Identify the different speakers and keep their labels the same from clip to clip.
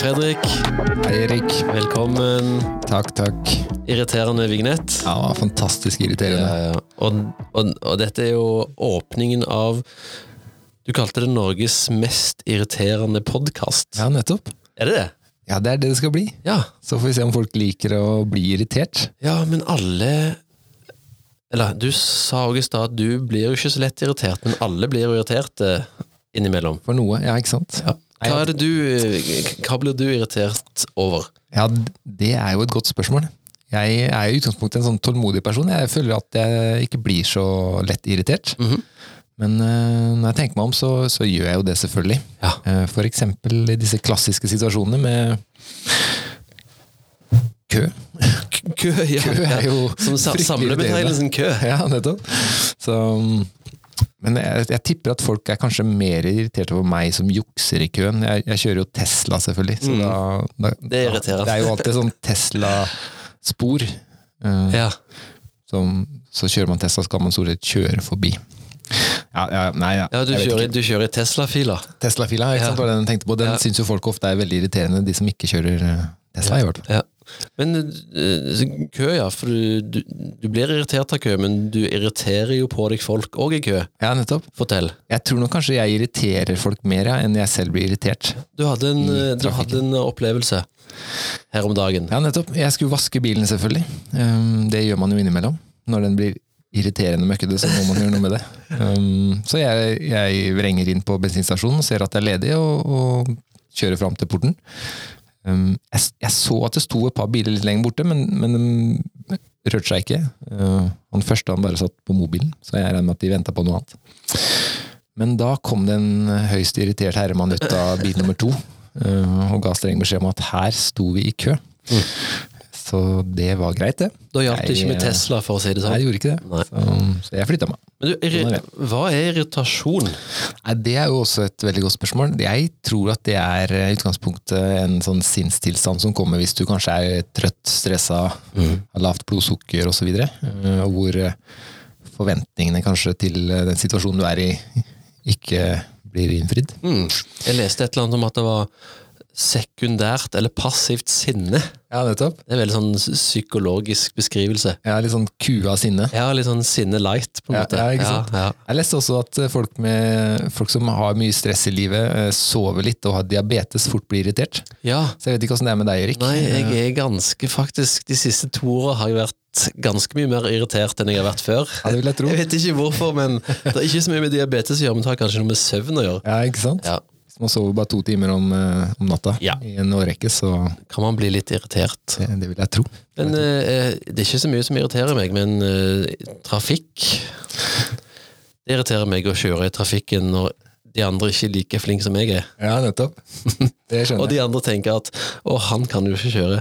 Speaker 1: Fredrik,
Speaker 2: Hei, Erik.
Speaker 1: velkommen.
Speaker 2: Takk, takk.
Speaker 1: Irriterende vignett.
Speaker 2: Ja, det var fantastisk irriterende.
Speaker 1: Ja, ja. Og, og, og dette er jo åpningen av Du kalte det Norges mest irriterende podkast.
Speaker 2: Ja, nettopp.
Speaker 1: Er det det?
Speaker 2: Ja, det er det det skal bli.
Speaker 1: Ja.
Speaker 2: Så får vi se om folk liker å bli irritert.
Speaker 1: ja, men alle Eller du sa òg i stad at du blir jo ikke så lett irritert, men alle blir jo irriterte innimellom.
Speaker 2: For noe, ja, ikke sant?
Speaker 1: Hva, er det du, hva blir du irritert over?
Speaker 2: Ja, det er jo et godt spørsmål. Jeg er i utgangspunktet en sånn tålmodig person. Jeg føler at jeg ikke blir så lett irritert.
Speaker 1: Mhm.
Speaker 2: Men eh, når jeg tenker meg om, så, så gjør jeg jo det selvfølgelig.
Speaker 1: Ja.
Speaker 2: Eh, for eksempel i disse klassiske situasjonene med kø.
Speaker 1: Kø, ja.
Speaker 2: Kø er jo
Speaker 1: Som sa-
Speaker 2: fryktelig
Speaker 1: samlebetegnelsen kø.
Speaker 2: Ja, nettopp. Så, mm, men jeg, jeg tipper at folk er kanskje mer irritert over meg som jukser i køen. Jeg, jeg kjører jo Tesla, selvfølgelig. Så da, da,
Speaker 1: Mm. Det er irriterende.
Speaker 2: Det er jo alltid sånn Tesla-spor. eh,
Speaker 1: Ja.
Speaker 2: som- Så kjører man Tesla, skal man stort sett kjøre forbi. Ja, ja, nei, ja.
Speaker 1: ja, du
Speaker 2: jeg vet
Speaker 1: kjører,
Speaker 2: ikke.
Speaker 1: du kjører i Tesla-fila.
Speaker 2: Tesla-fila, ikke sant, var det den jeg tenkte på. Den
Speaker 1: Ja.
Speaker 2: syns jo folk ofte er veldig irriterende, de som ikke kjører eh, Tesla, i hvert fall.
Speaker 1: Ja. Men eh, kø, ja. For du, du, du blir irritert av kø, men du irriterer jo på deg folk òg i kø.
Speaker 2: Ja, nettopp.
Speaker 1: Fortell.
Speaker 2: Jeg tror nok kanskje jeg irriterer folk mer ja, enn jeg selv blir irritert.
Speaker 1: Du hadde en, eh,
Speaker 2: I
Speaker 1: du hadde en opplevelse her om dagen.
Speaker 2: Ja, nettopp. Jeg skulle vaske bilen, selvfølgelig. Um, det gjør man jo innimellom. Når den blir irriterende møkkete, så må man gjøre noe med det. Um, så jeg, jeg vrenger inn på bensinstasjonen, ser at det er ledig, og, og kjører fram til porten. Um, jeg, s- jeg så at det sto et par biler litt lenger borte, men, men de rørte seg ikke. Uh, han første han bare satt på mobilen, så jeg regner med at de venta på noe annet. Men da kom det en høyst irritert herremann ut av bil nummer to eh, og ga streng beskjed om at her sto vi i kø. Så det var greit, det.
Speaker 1: Da hjalp det ikke
Speaker 2: Jeg,
Speaker 1: med
Speaker 2: eh,
Speaker 1: Tesla, for å si det
Speaker 2: Nei,
Speaker 1: sånn.
Speaker 2: jeg gjorde ikke Sånn det.
Speaker 1: Nei.
Speaker 2: Så, så jeg flytta meg.
Speaker 1: Men du, irri hva er irritasjon?
Speaker 2: Nei, Det er jo også et veldig godt spørsmål. Jeg tror at det er eh, i utgangspunktet en sånn sinnstilstand som kommer hvis du kanskje er trøtt, stressa,
Speaker 1: Mm.
Speaker 2: har lavt blodsukker osv. Hvor eh, forventningene kanskje til eh, den situasjonen du er i, ikke blir innfridd.
Speaker 1: Mm. Jeg leste et eller annet om at det var sekundært eller passivt sinne.
Speaker 2: Ja, nettopp.
Speaker 1: Det er en veldig sånn psykologisk beskrivelse.
Speaker 2: Jeg er litt sånn kua av sinne.
Speaker 1: Ja, litt sånn sinne light, på en
Speaker 2: Ja,
Speaker 1: måte.
Speaker 2: ja, ikke sant?
Speaker 1: Ja,
Speaker 2: Jeg leste også at eh, folk, med, folk som har mye stress i livet, eh, sover litt og har diabetes, fort blir irritert.
Speaker 1: ja. ja.
Speaker 2: Så jeg vet ikke åssen det er med deg, Erik.
Speaker 1: Nei, jeg er ganske faktisk De siste to åra har jeg vært ganske mye mer irritert enn jeg har vært før.
Speaker 2: Ja, det vil jeg tro.
Speaker 1: Jeg vet ikke hvorfor, men det er ikke så mye med diabetes å gjøre, men det har kanskje noe med søvn å gjøre.
Speaker 2: Ja, ikke sant?
Speaker 1: Ja,
Speaker 2: Hvis man sover bare to timer om, eh, om natta
Speaker 1: Ja.
Speaker 2: i en årrekke, så
Speaker 1: kan man bli litt irritert.
Speaker 2: det, det vil jeg tro.
Speaker 1: Men eh, det er ikke så mye som irriterer meg, men eh, trafikk Det irriterer meg å kjøre i trafikken når de andre ikke er like flinke som jeg er.
Speaker 2: Ja, nettopp. Det
Speaker 1: Og
Speaker 2: skjønner jeg.
Speaker 1: de andre tenker at 'å, han kan jo ikke kjøre'.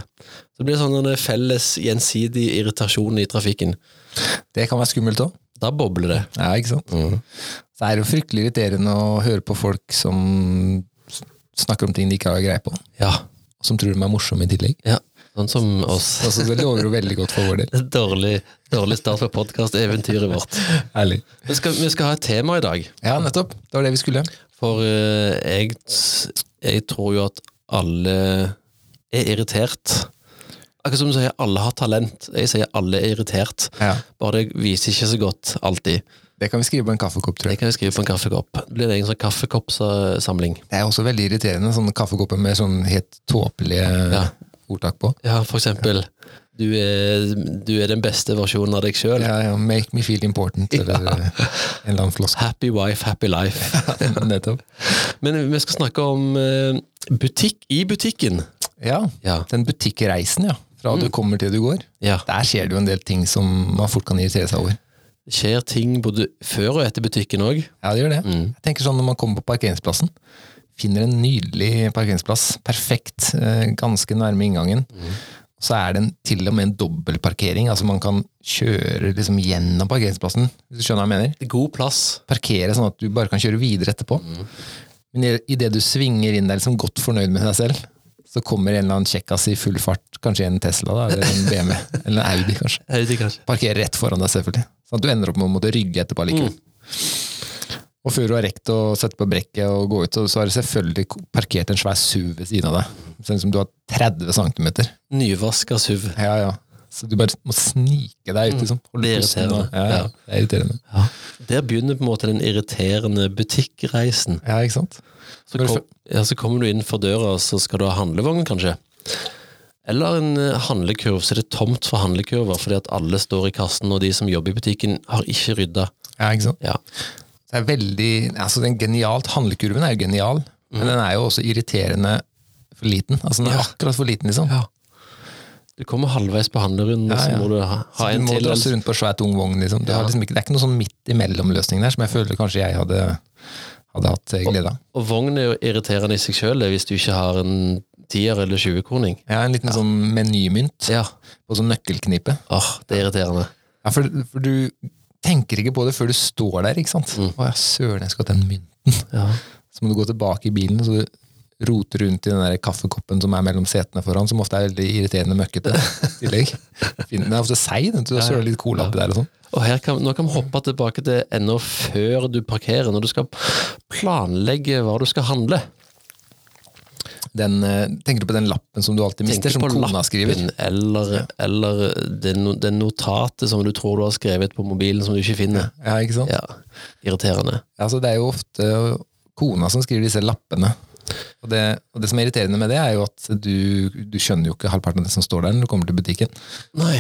Speaker 1: Så det blir sånn en felles, gjensidig irritasjon i trafikken.
Speaker 2: Det kan være skummelt òg.
Speaker 1: Da bobler det.
Speaker 2: Ja, ikke sant?
Speaker 1: Mhm.
Speaker 2: Så er det jo fryktelig irriterende å høre på folk som s- snakker om ting de ikke har greie på,
Speaker 1: Ja.
Speaker 2: og som tror de er morsomme i tillegg.
Speaker 1: Ja, sånn som oss.
Speaker 2: Altså, det lover jo veldig godt for vår del.
Speaker 1: Dårlig, dårlig start på podkasteventyret vårt.
Speaker 2: Ærlig.
Speaker 1: Vi skal, vi skal ha et tema i dag,
Speaker 2: Ja, nettopp. Det var det vi skulle.
Speaker 1: for eh, jeg, jeg tror jo at alle er irritert. Akkurat som du sier alle har talent. Jeg sier alle er irritert,
Speaker 2: Ja.
Speaker 1: bare det viser ikke så godt alltid.
Speaker 2: Det kan vi skrive på en kaffekopp, tror
Speaker 1: Det
Speaker 2: jeg.
Speaker 1: kan jeg skrive på en kaffekopp. Det blir en sånn kaffekoppsamling.
Speaker 2: Det er også veldig irriterende, sånne kaffekopper med sånn helt tåpelige
Speaker 1: Ja.
Speaker 2: ordtak på.
Speaker 1: Ja, for eksempel. Du er, du er den beste versjonen av deg sjøl.
Speaker 2: Ja, ja, make me feel important, eller eh, en eller annen floskel.
Speaker 1: Happy wife, happy life.
Speaker 2: Nettopp.
Speaker 1: Men vi skal snakke om eh, butikk i butikken.
Speaker 2: Ja,
Speaker 1: Ja.
Speaker 2: den butikkreisen, ja. Fra du kommer til du går.
Speaker 1: ja.
Speaker 2: Der skjer det jo en del ting som man fort kan irritere seg over.
Speaker 1: Det skjer ting både før og etter butikken òg.
Speaker 2: Ja, det gjør det. Jeg tenker sånn når man kommer på parkeringsplassen, finner en nydelig parkeringsplass, perfekt, eh, ganske nærme inngangen, så er det en, til og med en dobbeltparkering, altså man kan kjøre liksom gjennom parkeringsplassen, hvis du skjønner hva jeg mener.
Speaker 1: God plass.
Speaker 2: Parkere sånn at du bare kan kjøre videre etterpå. Men i- i det du svinger inn der liksom godt fornøyd med deg selv, Så kommer en eller annen kjekkas i full fart, kanskje en Tesla da, eller en BMW, eller en Audi kanskje.
Speaker 1: Høyde, kanskje.
Speaker 2: Parkerer rett foran deg selvfølgelig. Sånn at du ender opp med å måtte rygge etterpå likevel.
Speaker 1: Mm.
Speaker 2: Og før du har rekt å sette på brekket og gå ut, så- så har du selvfølgelig ko- parkert en svær SUV ved siden av deg. Sånn som du har 30 cm.
Speaker 1: Nyvaska SUV.
Speaker 2: Ja, ja. Så du bare må snike deg ut, liksom. Holde
Speaker 1: Mm. Det er
Speaker 2: pusten
Speaker 1: irriterende.
Speaker 2: og- Ja, ja.
Speaker 1: Ja.
Speaker 2: Det er irriterende.
Speaker 1: Der begynner på en måte den irriterende butikkreisen.
Speaker 2: Ja, ikke sant?
Speaker 1: Så,
Speaker 2: Når du
Speaker 1: kom, ja, så kommer du inn for døra, og så skal du ha handlevogn, kanskje. Eller en eh, handlekurv, så er det tomt for handlekurver fordi at alle står i kassen, og de som jobber i butikken, har ikke rydda.
Speaker 2: Ja, ikke sant?
Speaker 1: Ja.
Speaker 2: Det er veldig, altså den genialt, Handlekurven er jo genial, men den er jo også irriterende for liten. Altså Den
Speaker 1: Mm.
Speaker 2: er
Speaker 1: Ja.
Speaker 2: akkurat for liten, liksom.
Speaker 1: Du kommer halvveis på handlerunden, og
Speaker 2: Ja,
Speaker 1: så
Speaker 2: ja.
Speaker 1: må du ha,
Speaker 2: Så
Speaker 1: ha
Speaker 2: du
Speaker 1: en
Speaker 2: må
Speaker 1: til.
Speaker 2: drasse
Speaker 1: eller-
Speaker 2: rundt på svær, tung vogn. liksom. Du
Speaker 1: Ja.
Speaker 2: har liksom ikke, det er ikke noe sånn midt imellom-løsning der, som jeg føler kanskje jeg hadde, hadde hatt eh, glede av.
Speaker 1: Og vogn er jo irriterende i seg sjøl hvis du ikke har en tier- eller tjuekroning.
Speaker 2: Ja, En liten sånn menymynt
Speaker 1: Ja.
Speaker 2: og sånn nøkkelknipe.
Speaker 1: Åh, det er irriterende.
Speaker 2: Ja, for, for du tenker ikke på det før du står der, ikke sant?
Speaker 1: Mm.
Speaker 2: Å ja, søren, jeg skal ha den mynten.
Speaker 1: Ja.
Speaker 2: Så må du gå tilbake i bilen, så du roter rundt i den der kaffekoppen som er mellom setene foran, som ofte er veldig irriterende møkkete. i tillegg. Fin- Den er ofte seig, den, så du søler litt cola oppi der og sånn.
Speaker 1: Og her kan, nå kan vi hoppe tilbake til ennå før du parkerer, når du skal planlegge hva du skal handle.
Speaker 2: Den, eh, tenker du på den lappen som du alltid mister,
Speaker 1: Tenk
Speaker 2: som
Speaker 1: på
Speaker 2: kona
Speaker 1: lappen,
Speaker 2: skriver?
Speaker 1: Eller, eller det, no- det notatet som du tror du har skrevet på mobilen som du ikke finner.
Speaker 2: Ja, ikke sant?
Speaker 1: Ja, Irriterende.
Speaker 2: Altså, det er jo ofte kona som skriver disse lappene. Og det, og det som er irriterende med det, er jo at du, du skjønner jo ikke halvparten av det som står der når du kommer til butikken.
Speaker 1: Nei.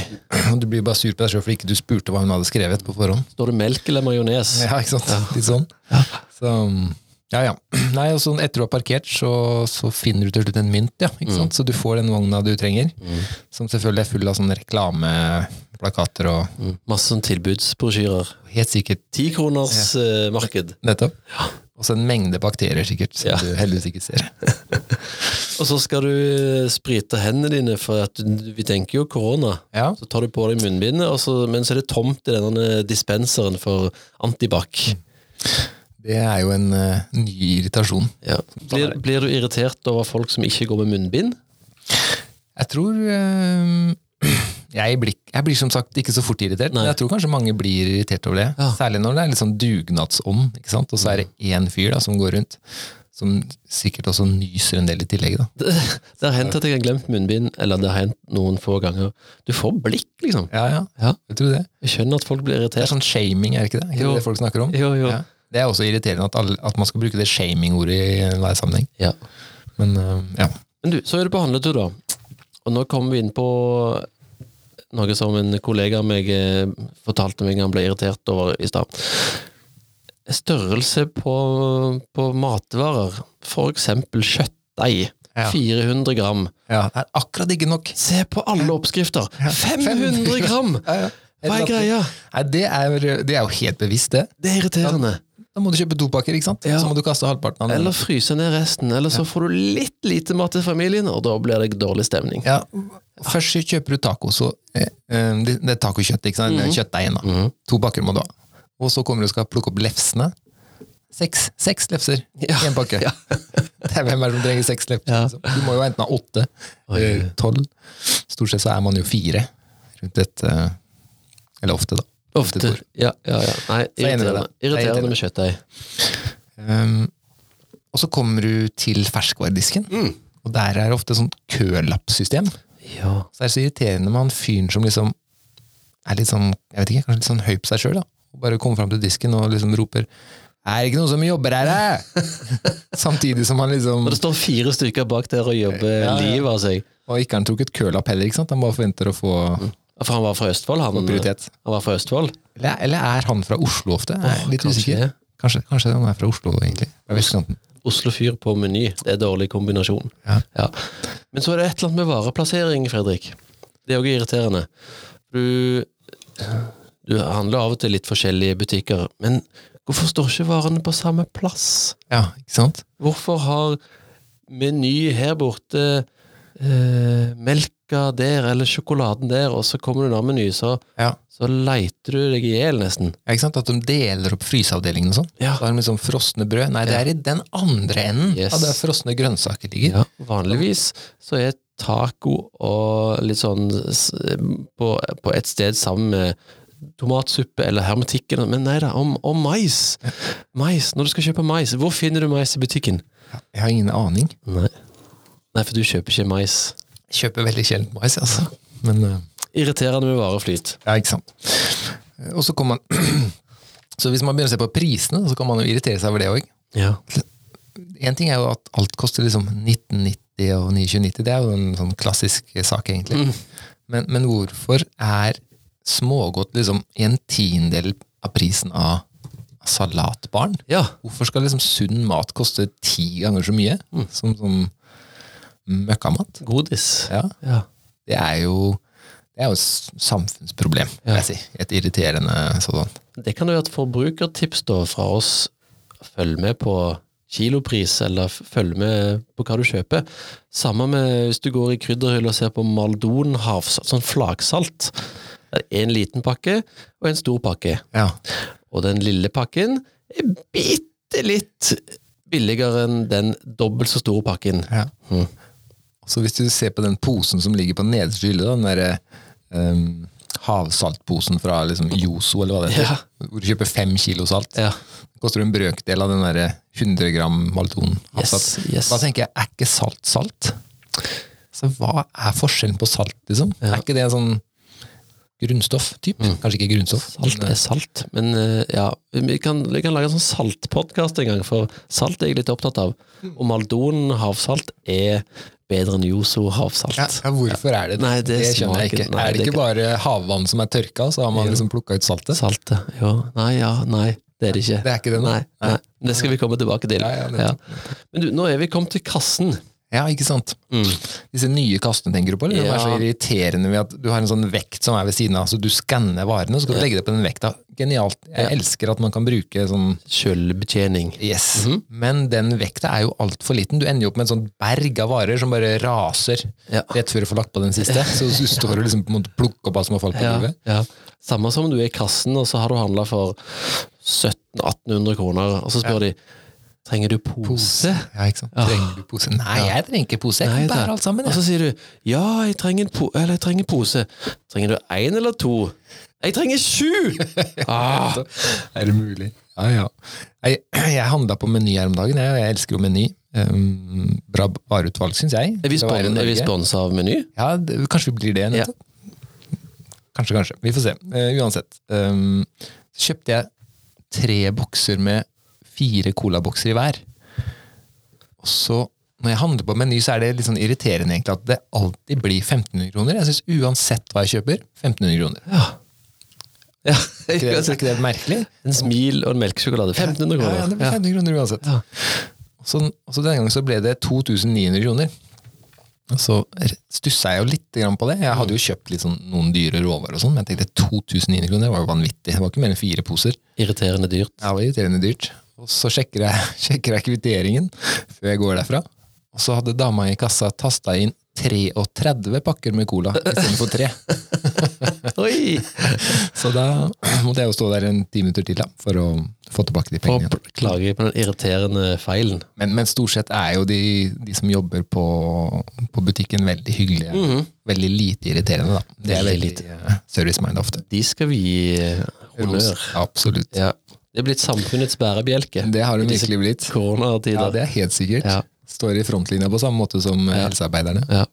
Speaker 2: Og Du blir bare sur på deg sjøl fordi ikke du spurte hva hun hadde skrevet på forhånd.
Speaker 1: Står det melk eller majones?
Speaker 2: Ja, ikke sant? Litt sånn. Så, ja, ja. Nei, og sånn etter du har parkert, så, så finner du til slutt en mynt, ja. Ikke sant? Så du får den vogna du trenger, som selvfølgelig er full av sånne reklameplakater og
Speaker 1: Mm, Masse sånn tilbudsbrosjyrer.
Speaker 2: helt sikkert
Speaker 1: Tikroners eh, marked.
Speaker 2: nettopp. Og så en mengde bakterier, sikkert, som
Speaker 1: Ja.
Speaker 2: du heldigvis ikke ser.
Speaker 1: Og så skal du eh, sprite hendene dine, for at du- vi tenker jo korona.
Speaker 2: Ja.
Speaker 1: Så tar du på deg munnbindet, og så, men så er det tomt i denne dispenseren for antibac.
Speaker 2: Mm. Det er jo en eh, ny irritasjon.
Speaker 1: Ja.
Speaker 2: Sånn
Speaker 1: Blir, blir du irritert over folk som ikke går med munnbind?
Speaker 2: Jeg tror eh, jeg, blir, jeg blir som sagt ikke så fort irritert,
Speaker 1: Nei.
Speaker 2: men jeg tror kanskje mange blir irritert over det.
Speaker 1: Ja.
Speaker 2: Særlig når det er litt sånn dugnadsånd, ikke sant? og så er det én fyr da, som går rundt, som sikkert også nyser en del i tillegg. Da.
Speaker 1: Det, det har hendt at jeg har glemt munnbind, eller det har hendt noen få ganger. Du får blikk, liksom.
Speaker 2: Ja, ja.
Speaker 1: Ja.
Speaker 2: Jeg tror det.
Speaker 1: Jeg skjønner at folk blir
Speaker 2: det er
Speaker 1: irritert.
Speaker 2: sånn shaming, er det ikke det? Er ikke
Speaker 1: Jo.
Speaker 2: det det folk snakker om?
Speaker 1: Jo, jo.
Speaker 2: Ja. Det er også irriterende at, alle, at man skal bruke det shaming-ordet i enhver sammenheng.
Speaker 1: Ja.
Speaker 2: Men eh, ja.
Speaker 1: Men du, så er det på handletur, da. Og nå kommer vi inn på noe som en kollega av meg eh, fortalte meg han ble irritert over i stad. Størrelse på, på matvarer, for eksempel kjøttdeig.
Speaker 2: Ja.
Speaker 1: 400 gram.
Speaker 2: ja. Det er akkurat ikke nok.
Speaker 1: Se på alle oppskrifter! 500 gram!
Speaker 2: Ja, ja.
Speaker 1: Hva er greia?
Speaker 2: Nei, det er, det er jo helt bevisst, det.
Speaker 1: Det er irriterende.
Speaker 2: Da må du kjøpe to pakker, ikke sant?
Speaker 1: Ja.
Speaker 2: Så må du kaste halvparten av den.
Speaker 1: Eller fryse ned resten, eller så får du litt lite mat til familien, og da blir det dårlig stemning.
Speaker 2: Ja. Først så kjøper du taco, så eh, eh, det, det er tacokjøtt, ikke sant?
Speaker 1: Mhm.
Speaker 2: Kjøttdeigen, da. To pakker må du ha. Og så kommer du og skal plukke opp lefsene. Seks, seks lefser i
Speaker 1: Ja.
Speaker 2: en pakke. Det er hvem er det som trenger seks lefser?
Speaker 1: Ja.
Speaker 2: Liksom? Du må jo enten ha åtte, eh, tolv. Stort sett så er man jo fire rundt et eh, Eller ofte, da.
Speaker 1: Ofte. Ja, ja, ja. Nei,
Speaker 2: er jeg enig med
Speaker 1: irriterende.
Speaker 2: deg. Jeg er enig
Speaker 1: Irriterende
Speaker 2: med
Speaker 1: med kjøttdeig.
Speaker 2: Um, og så kommer du til ferskvaredisken,
Speaker 1: Mm.
Speaker 2: og der er det ofte sånn kølappsystem.
Speaker 1: Ja.
Speaker 2: Så det er så irriterende med han fyren som liksom er litt sånn, jeg vet ikke, kanskje litt sånn høy på seg sjøl, da. Og bare kommer fram til disken og liksom roper 'Er det ikke noen som jobber her, hæ?' Samtidig som han liksom
Speaker 1: Når det står fire stykker bak der og jobber
Speaker 2: Ja, ja.
Speaker 1: livet av seg.
Speaker 2: Og ikke har han trukket kølapp heller, ikke sant? Han bare forventer å få
Speaker 1: For han var fra Østfold, han.
Speaker 2: prioritet.
Speaker 1: Han var fra Østfold.
Speaker 2: Eller, eller er han fra Oslo ofte? Jeg er litt
Speaker 1: kanskje
Speaker 2: usikker.
Speaker 1: det.
Speaker 2: Kanskje, kanskje han er fra Oslo, egentlig. Fra vestkanten.
Speaker 1: Oslo-fyr på Meny. Det er en dårlig kombinasjon.
Speaker 2: Ja.
Speaker 1: Men så er det et eller annet med vareplassering, Fredrik. Det er òg irriterende. Du, du handler av og til litt forskjellige butikker, men hvorfor står ikke varene på samme plass?
Speaker 2: Ja, ikke sant?
Speaker 1: Hvorfor har Meny her borte eh, melk Coca der, eller sjokoladen der, og så kommer du nær meny, så,
Speaker 2: Ja.
Speaker 1: så leiter du deg i hjel, nesten.
Speaker 2: Ja, ikke sant? At de deler opp fryseavdelingen og sånn.
Speaker 1: Ja.
Speaker 2: Så har de liksom frosne brød. Nei, det er i den andre enden
Speaker 1: Yes.
Speaker 2: av der frosne grønnsaker ligger.
Speaker 1: Ja, vanligvis så er taco og litt sånn s- på, på et sted sammen med tomatsuppe eller hermetikk, eller- men nei da, om, om mais. Mais, når du skal kjøpe mais, hvor finner du mais i butikken?
Speaker 2: Jeg har ingen aning.
Speaker 1: Nei, nei for du kjøper ikke mais.
Speaker 2: Kjøper veldig sjelden mais, altså. Men eh,
Speaker 1: Irriterende med vareflyt.
Speaker 2: Ja, ikke sant. Og så kan man Så hvis man begynner å se på prisene, så kan man jo irritere seg over det òg.
Speaker 1: Ja.
Speaker 2: Én ting er jo at alt koster liksom 1990 og 2990, det er jo en sånn klassisk sak, egentlig. Men, men hvorfor er smågodt liksom en tiendedel av prisen av salatbaren?
Speaker 1: ja.
Speaker 2: Hvorfor skal liksom sunn mat koste ti ganger så mye som, som møkkamat?
Speaker 1: Godis.
Speaker 2: Ja,
Speaker 1: Ja.
Speaker 2: det er jo det er jo et samfunnsproblem, vil jeg si. Et irriterende sådant.
Speaker 1: Det kan jo være et forbrukertips da fra oss. Følg med på kilopris, eller f- følg med på hva du kjøper. Samme med hvis du går i krydderhylla og ser på Maldon havsalt, sånn flaksalt. Det er en liten pakke og en stor pakke.
Speaker 2: Ja.
Speaker 1: Og den lille pakken er bitte litt billigere enn den dobbelt så store pakken.
Speaker 2: Ja.
Speaker 1: Mhm.
Speaker 2: Mm. Så hvis du ser på den posen som ligger på nederste hylle, da, den derre ehm, havsaltposen fra liksom Joso, eller hva det heter, hvor du kjøper fem kilo salt,
Speaker 1: Ja.
Speaker 2: koster det en brøkdel av den derre 100 gram malton havsalt.
Speaker 1: Yes, yes.
Speaker 2: Da tenker jeg, er ikke salt salt? Så hva er forskjellen på salt, liksom?
Speaker 1: Ja. Mm.
Speaker 2: Er ikke det en sånn grunnstoff typ? Kanskje ikke grunnstoff.
Speaker 1: Salt er salt, men eh, ja, vi kan, vi kan lage en sånn saltpodkast en gang, for salt er jeg litt opptatt av. Og Maldon havsalt er bedre enn Joso havsalt.
Speaker 2: Ja, ja, hvorfor er det det?
Speaker 1: Nei, det
Speaker 2: skjønner jeg
Speaker 1: smaker-
Speaker 2: ikke.
Speaker 1: nei,
Speaker 2: er det
Speaker 1: det
Speaker 2: ikke bare havvann som er tørka, så har man
Speaker 1: Jo.
Speaker 2: liksom plukka ut saltet?
Speaker 1: Saltet, ja. Nei, ja, nei, det er det ikke.
Speaker 2: Det er ikke det nå?
Speaker 1: Nei, nei. Men Det skal vi komme tilbake til.
Speaker 2: Ja, ja, det-
Speaker 1: Men du, nå er vi kommet til kassen.
Speaker 2: Ja, ikke sant? Disse nye kassene tenker du på, eller? De er så
Speaker 1: Mm. Ja.
Speaker 2: irriterende ved at du har en sånn vekt som er ved siden av, så du skanner varene, og så skal du legge deg på den vekta. Genialt. Jeg elsker at man kan bruke sånn
Speaker 1: Sjølbetjening.
Speaker 2: Yes.
Speaker 1: Mhm.
Speaker 2: Men den vekta er jo altfor liten. Du ender jo opp med en sånn berg av varer som bare raser
Speaker 1: Ja.
Speaker 2: rett før du får lagt på den siste. Så du står og liksom på en måte plukker opp alt som har falt på
Speaker 1: Ja,
Speaker 2: gulvet.
Speaker 1: ja. Samme som om du er i kassen, og så har du handla for 1700-1800 kroner, og så spør de trenger du pose? Ah.
Speaker 2: Ja, ikke sant? Trenger du pose? Nei, jeg trenger ikke pose. Jeg
Speaker 1: Nei,
Speaker 2: kan
Speaker 1: det- Altså,
Speaker 2: bære alt sammen.
Speaker 1: Og
Speaker 2: Jeg.
Speaker 1: så sier du ja, jeg trenger, en po eller, jeg trenger pose. Trenger du én eller to? Jeg trenger sju! Ah,
Speaker 2: Er det mulig? Ja, ja. Jeg, jeg handla på Meny her om dagen. Jeg, jeg elsker jo Meny. Um, bra vareutvalg, syns jeg.
Speaker 1: er vi,
Speaker 2: Til å være i
Speaker 1: spon er vi
Speaker 2: Norge.
Speaker 1: sponsa av Meny?
Speaker 2: Ja, det, kanskje vi blir det.
Speaker 1: Ja.
Speaker 2: nettopp. Kanskje, kanskje. Vi får se. Eh, uansett. Um, så kjøpte jeg tre bokser med fire colabokser i hver. Og så, når jeg handler på Meny, så er det litt sånn irriterende egentlig at det alltid blir 1500 kroner. Jeg synes uansett hva jeg kjøper, 1500 kroner.
Speaker 1: Ja. ja.
Speaker 2: Er ikke det, er ikke det merkelig?
Speaker 1: En smil og en melkesjokolade. 1500
Speaker 2: Ja, ja,
Speaker 1: kroner.
Speaker 2: det blir 1500 kroner uansett.
Speaker 1: Ja.
Speaker 2: Og så, og så denne gangen så ble det 2900 kroner. Og så stussa jeg jo litt grann på det. Jeg hadde jo kjøpt litt sånn, noen dyre råvarer, og sånn, men jeg tenkte 2900 kroner det var jo vanvittig. Det var ikke mer enn fire poser.
Speaker 1: Irriterende dyrt.
Speaker 2: Det var irriterende dyrt. Og så sjekker jeg, sjekker jeg kvitteringen før jeg går derfra. Og så hadde dama i kassa tasta inn 33 pakker med cola istedenfor tre.
Speaker 1: Oi!
Speaker 2: Så da måtte jeg jo stå der en ti minutter til da, for å få tilbake de
Speaker 1: Og
Speaker 2: pengene.
Speaker 1: klager på den irriterende feilen.
Speaker 2: Men, men stort sett er jo de, de som jobber på, på butikken veldig hyggelige. Veldig lite irriterende, da. Mhm. Det er
Speaker 1: Veldig
Speaker 2: veldig
Speaker 1: lite.
Speaker 2: eh, service-mind ofte.
Speaker 1: De skal vi gi eh, honnør.
Speaker 2: Ros, Absolutt.
Speaker 1: Ja. Det er blitt samfunnets bærebjelke.
Speaker 2: Det har de
Speaker 1: disse
Speaker 2: virkelig blitt. Ja,
Speaker 1: Koronatider.
Speaker 2: det er helt sikkert.
Speaker 1: Ja.
Speaker 2: Står i frontlinja på samme måte som eh, helsearbeiderne.
Speaker 1: Ja.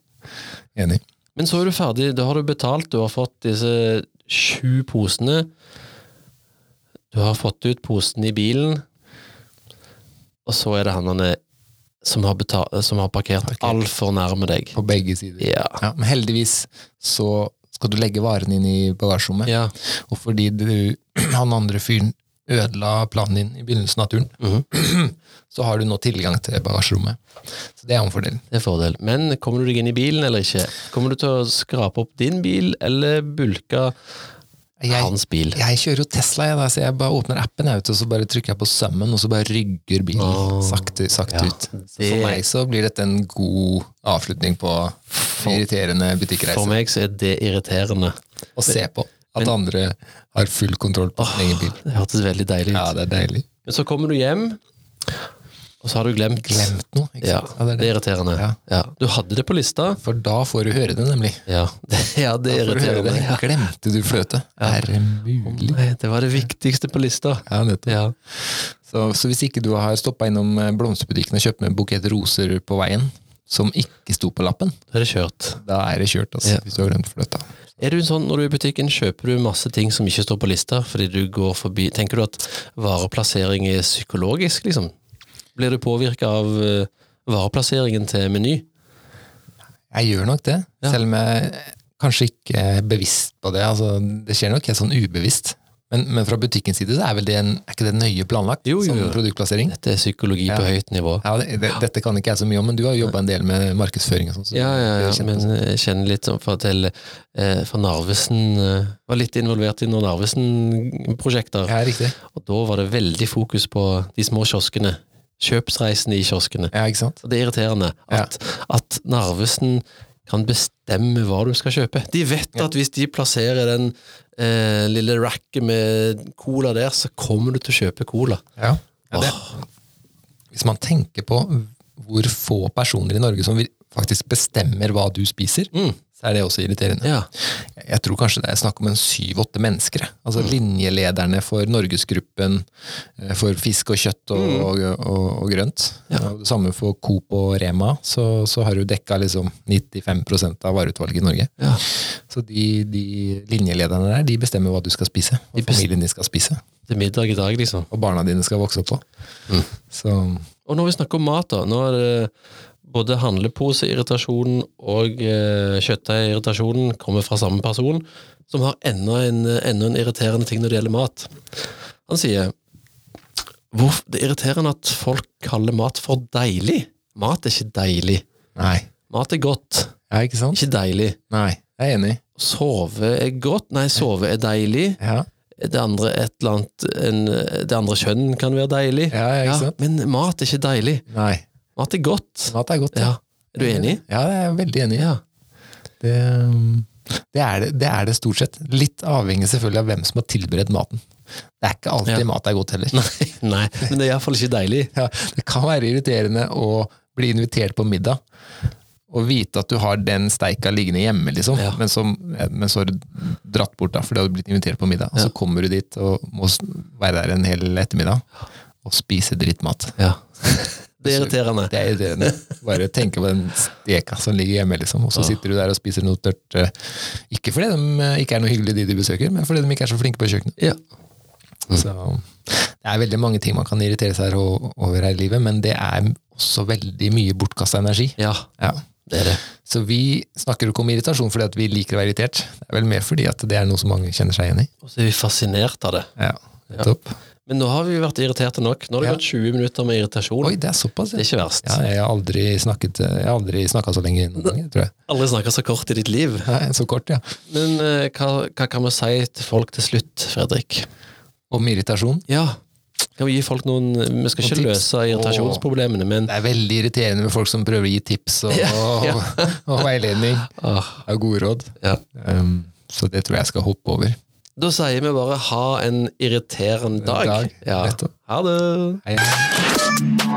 Speaker 2: Enig.
Speaker 1: Men så er du ferdig, da har du betalt, du har fått disse sju posene. Du har fått ut posen i bilen, og så er det han han er- som har, betalt, som har parkert altfor nærme deg.
Speaker 2: På begge sider.
Speaker 1: Ja.
Speaker 2: Ja, men heldigvis så skal du legge varene inn i bagasjerommet.
Speaker 1: ja.
Speaker 2: Og fordi du, han andre fyren ødela planen din i begynnelsen av turen, Mhm. så har du nå tilgang til bagasjerommet. Så det er en fordel.
Speaker 1: Det er fordel. Men kommer du deg inn i bilen eller ikke? Kommer du til å skrape opp din bil eller bulke
Speaker 2: Jeg,
Speaker 1: Hans bil.
Speaker 2: jeg kjører jo Tesla, jeg, da, så jeg bare åpner appen jeg, vet, du, og så bare trykker jeg på summen, og så bare rygger bilen
Speaker 1: Åh,
Speaker 2: sakte, sakte
Speaker 1: ja.
Speaker 2: ut. Så for meg så blir dette en god avslutning på irriterende butikkreiser.
Speaker 1: For meg så er det irriterende.
Speaker 2: Å se på at andre har full kontroll på sin egen bil.
Speaker 1: Det hørtes veldig deilig ut.
Speaker 2: Ja, det er deilig.
Speaker 1: Men så kommer du hjem, og så har du glemt.
Speaker 2: Glemt noe, ikke
Speaker 1: Ja,
Speaker 2: sant? Ja,
Speaker 1: det
Speaker 2: det er det.
Speaker 1: er irriterende.
Speaker 2: Ja.
Speaker 1: Ja. Du hadde det på lista.
Speaker 2: For da får du høre det, nemlig.
Speaker 1: Ja, det, ja, det er
Speaker 2: Da får du høre
Speaker 1: irriterende.
Speaker 2: det.
Speaker 1: Ja.
Speaker 2: Glemte du fløte? Er det mulig?
Speaker 1: Nei, det var det viktigste på lista.
Speaker 2: Ja, nettopp.
Speaker 1: Ja.
Speaker 2: Så, så hvis ikke du har stoppa innom eh, blomsterbutikken og kjøpt med en bukett roser på veien, som ikke sto på lappen,
Speaker 1: Da er det kjørt.
Speaker 2: da er det kjørt, altså,
Speaker 1: Ja.
Speaker 2: hvis du har glemt fløta.
Speaker 1: Er du en sånn når du er i butikken, kjøper du masse ting som ikke står på lista, fordi du går forbi Tenker du at vareplassering er psykologisk, liksom? Blir du påvirka av eh, vareplasseringen til Meny?
Speaker 2: Jeg gjør nok det,
Speaker 1: Ja.
Speaker 2: selv om jeg kanskje ikke er bevisst på det. Altså, det skjer nok helt sånn ubevisst. Men, men fra butikkens side så er, vel det en, er ikke det nøye planlagt
Speaker 1: Jo, jo, jo.
Speaker 2: som produktplassering?
Speaker 1: Dette er psykologi på
Speaker 2: Ja.
Speaker 1: høyt nivå.
Speaker 2: Ja, det, det, dette kan ikke jeg så mye om, men du har jo jobba en del med markedsføring. og sånt. Så
Speaker 1: Ja, ja, ja,
Speaker 2: du kjenner
Speaker 1: men
Speaker 2: på-
Speaker 1: jeg kjenner litt sånn for til eh, For Narvesen eh, var litt involvert i noen Narvesen-prosjekter.
Speaker 2: ja, riktig.
Speaker 1: Og da var det veldig fokus på de små kioskene. Kjøpsreisene i kioskene.
Speaker 2: Ja, ikke sant?
Speaker 1: Og det er irriterende at, at Narvesen kan bestemme hva du skal kjøpe. De vet at hvis de plasserer den eh, lille racket med cola der, så kommer du til å kjøpe cola.
Speaker 2: Ja. Ja, det,
Speaker 1: Åh,
Speaker 2: hvis man tenker på hvor få personer i Norge som vil- faktisk bestemmer hva du spiser,
Speaker 1: Mm.
Speaker 2: så er det også irriterende.
Speaker 1: ja.
Speaker 2: Jeg- Jeg tror kanskje det er snakk om en syv-åtte mennesker. jeg. Altså
Speaker 1: Mm.
Speaker 2: linjelederne for Norgesgruppen eh, for fisk og kjøtt og,
Speaker 1: Mm.
Speaker 2: og, og, og grønt. Og det samme for Coop og Rema, så, så har du dekka liksom 95 av vareutvalget i Norge.
Speaker 1: Ja.
Speaker 2: Så de, de linjelederne der, de bestemmer hva du skal spise, og
Speaker 1: De best-
Speaker 2: familien din skal spise,
Speaker 1: Det er middag i dag, liksom.
Speaker 2: og barna dine skal vokse opp på.
Speaker 1: Mm.
Speaker 2: Så
Speaker 1: Og når vi snakker om mat, da. Nå er det både handleposeirritasjonen og eh, kjøttdeigirritasjonen kommer fra samme person, som har enda en, enda en irriterende ting når det gjelder mat. Han sier Hvorf, det er irriterende at folk kaller mat for deilig. Mat er ikke deilig.
Speaker 2: nei.
Speaker 1: Mat er godt,
Speaker 2: Ja, ikke sant?
Speaker 1: ikke deilig.
Speaker 2: Nei, jeg er enig.
Speaker 1: Sove er godt, nei, sove er deilig.
Speaker 2: Ja,
Speaker 1: Det andre, et eller annet, en, det andre kjønn kan være deilig.
Speaker 2: ja, ja ikke sant?
Speaker 1: men mat er ikke deilig.
Speaker 2: Nei.
Speaker 1: Mat er godt.
Speaker 2: Mat er godt.
Speaker 1: Ja. Er du enig?
Speaker 2: Ja, jeg er veldig enig.
Speaker 1: Ja.
Speaker 2: Det, det, er det, det er det stort sett. Litt avhengig selvfølgelig av hvem som har tilberedt maten. Det er ikke alltid
Speaker 1: Ja.
Speaker 2: mat er godt heller.
Speaker 1: Nei, nei, men det er iallfall ikke deilig.
Speaker 2: Ja, det kan være irriterende å bli invitert på middag og vite at du har den steika liggende hjemme, liksom,
Speaker 1: Ja.
Speaker 2: men, som, men så har du dratt bort da, fordi du har blitt invitert på middag. Og
Speaker 1: Ja.
Speaker 2: så kommer du dit og må s- være der en hel ettermiddag og spise drittmat.
Speaker 1: Det er irriterende.
Speaker 2: Det er irriterende. Bare tenke på den steka som ligger hjemme, liksom. Og så sitter du der og spiser noe tørt. eh, Ikke fordi de eh, ikke er noe hyggelige, de du besøker, men fordi de ikke er så flinke på kjøkkenet.
Speaker 1: Ja.
Speaker 2: Så det er veldig mange ting man kan irritere seg o- over her i livet, men det er også veldig mye bortkasta energi.
Speaker 1: ja,
Speaker 2: Ja.
Speaker 1: det er det.
Speaker 2: Så vi snakker jo ikke om irritasjon fordi at vi liker å være irritert. Det er vel mer fordi at det er noe som mange kjenner seg igjen i.
Speaker 1: Og så er vi fascinert av det.
Speaker 2: Ja, nettopp.
Speaker 1: Men nå har vi vært irriterte nok. Nå har det
Speaker 2: Ja.
Speaker 1: gått 20 minutter med irritasjon.
Speaker 2: Oi, det er såpass,
Speaker 1: Det er
Speaker 2: ja.
Speaker 1: ikke verst.
Speaker 2: ja jeg har aldri snakket eh, Jeg har aldri snakka så lenge noen ganger, tror jeg.
Speaker 1: Aldri snakka så kort i ditt liv.
Speaker 2: Nei, så kort, ja.
Speaker 1: Men eh, hva, hva kan vi si til folk til slutt, Fredrik?
Speaker 2: Om irritasjon.
Speaker 1: Ja, kan vi gi folk noen Vi skal
Speaker 2: Noen
Speaker 1: ikke
Speaker 2: tips?
Speaker 1: løse irritasjonsproblemene, men
Speaker 2: Det er veldig irriterende med folk som prøver å gi tips og, og, veiledning
Speaker 1: ah,
Speaker 2: og gode råd.
Speaker 1: ja.
Speaker 2: Um, så det tror jeg jeg skal hoppe over.
Speaker 1: Da sier vi bare ha en irriterende dag.
Speaker 2: dag,
Speaker 1: ja.
Speaker 2: nettopp.
Speaker 1: Ha det.
Speaker 2: Hei.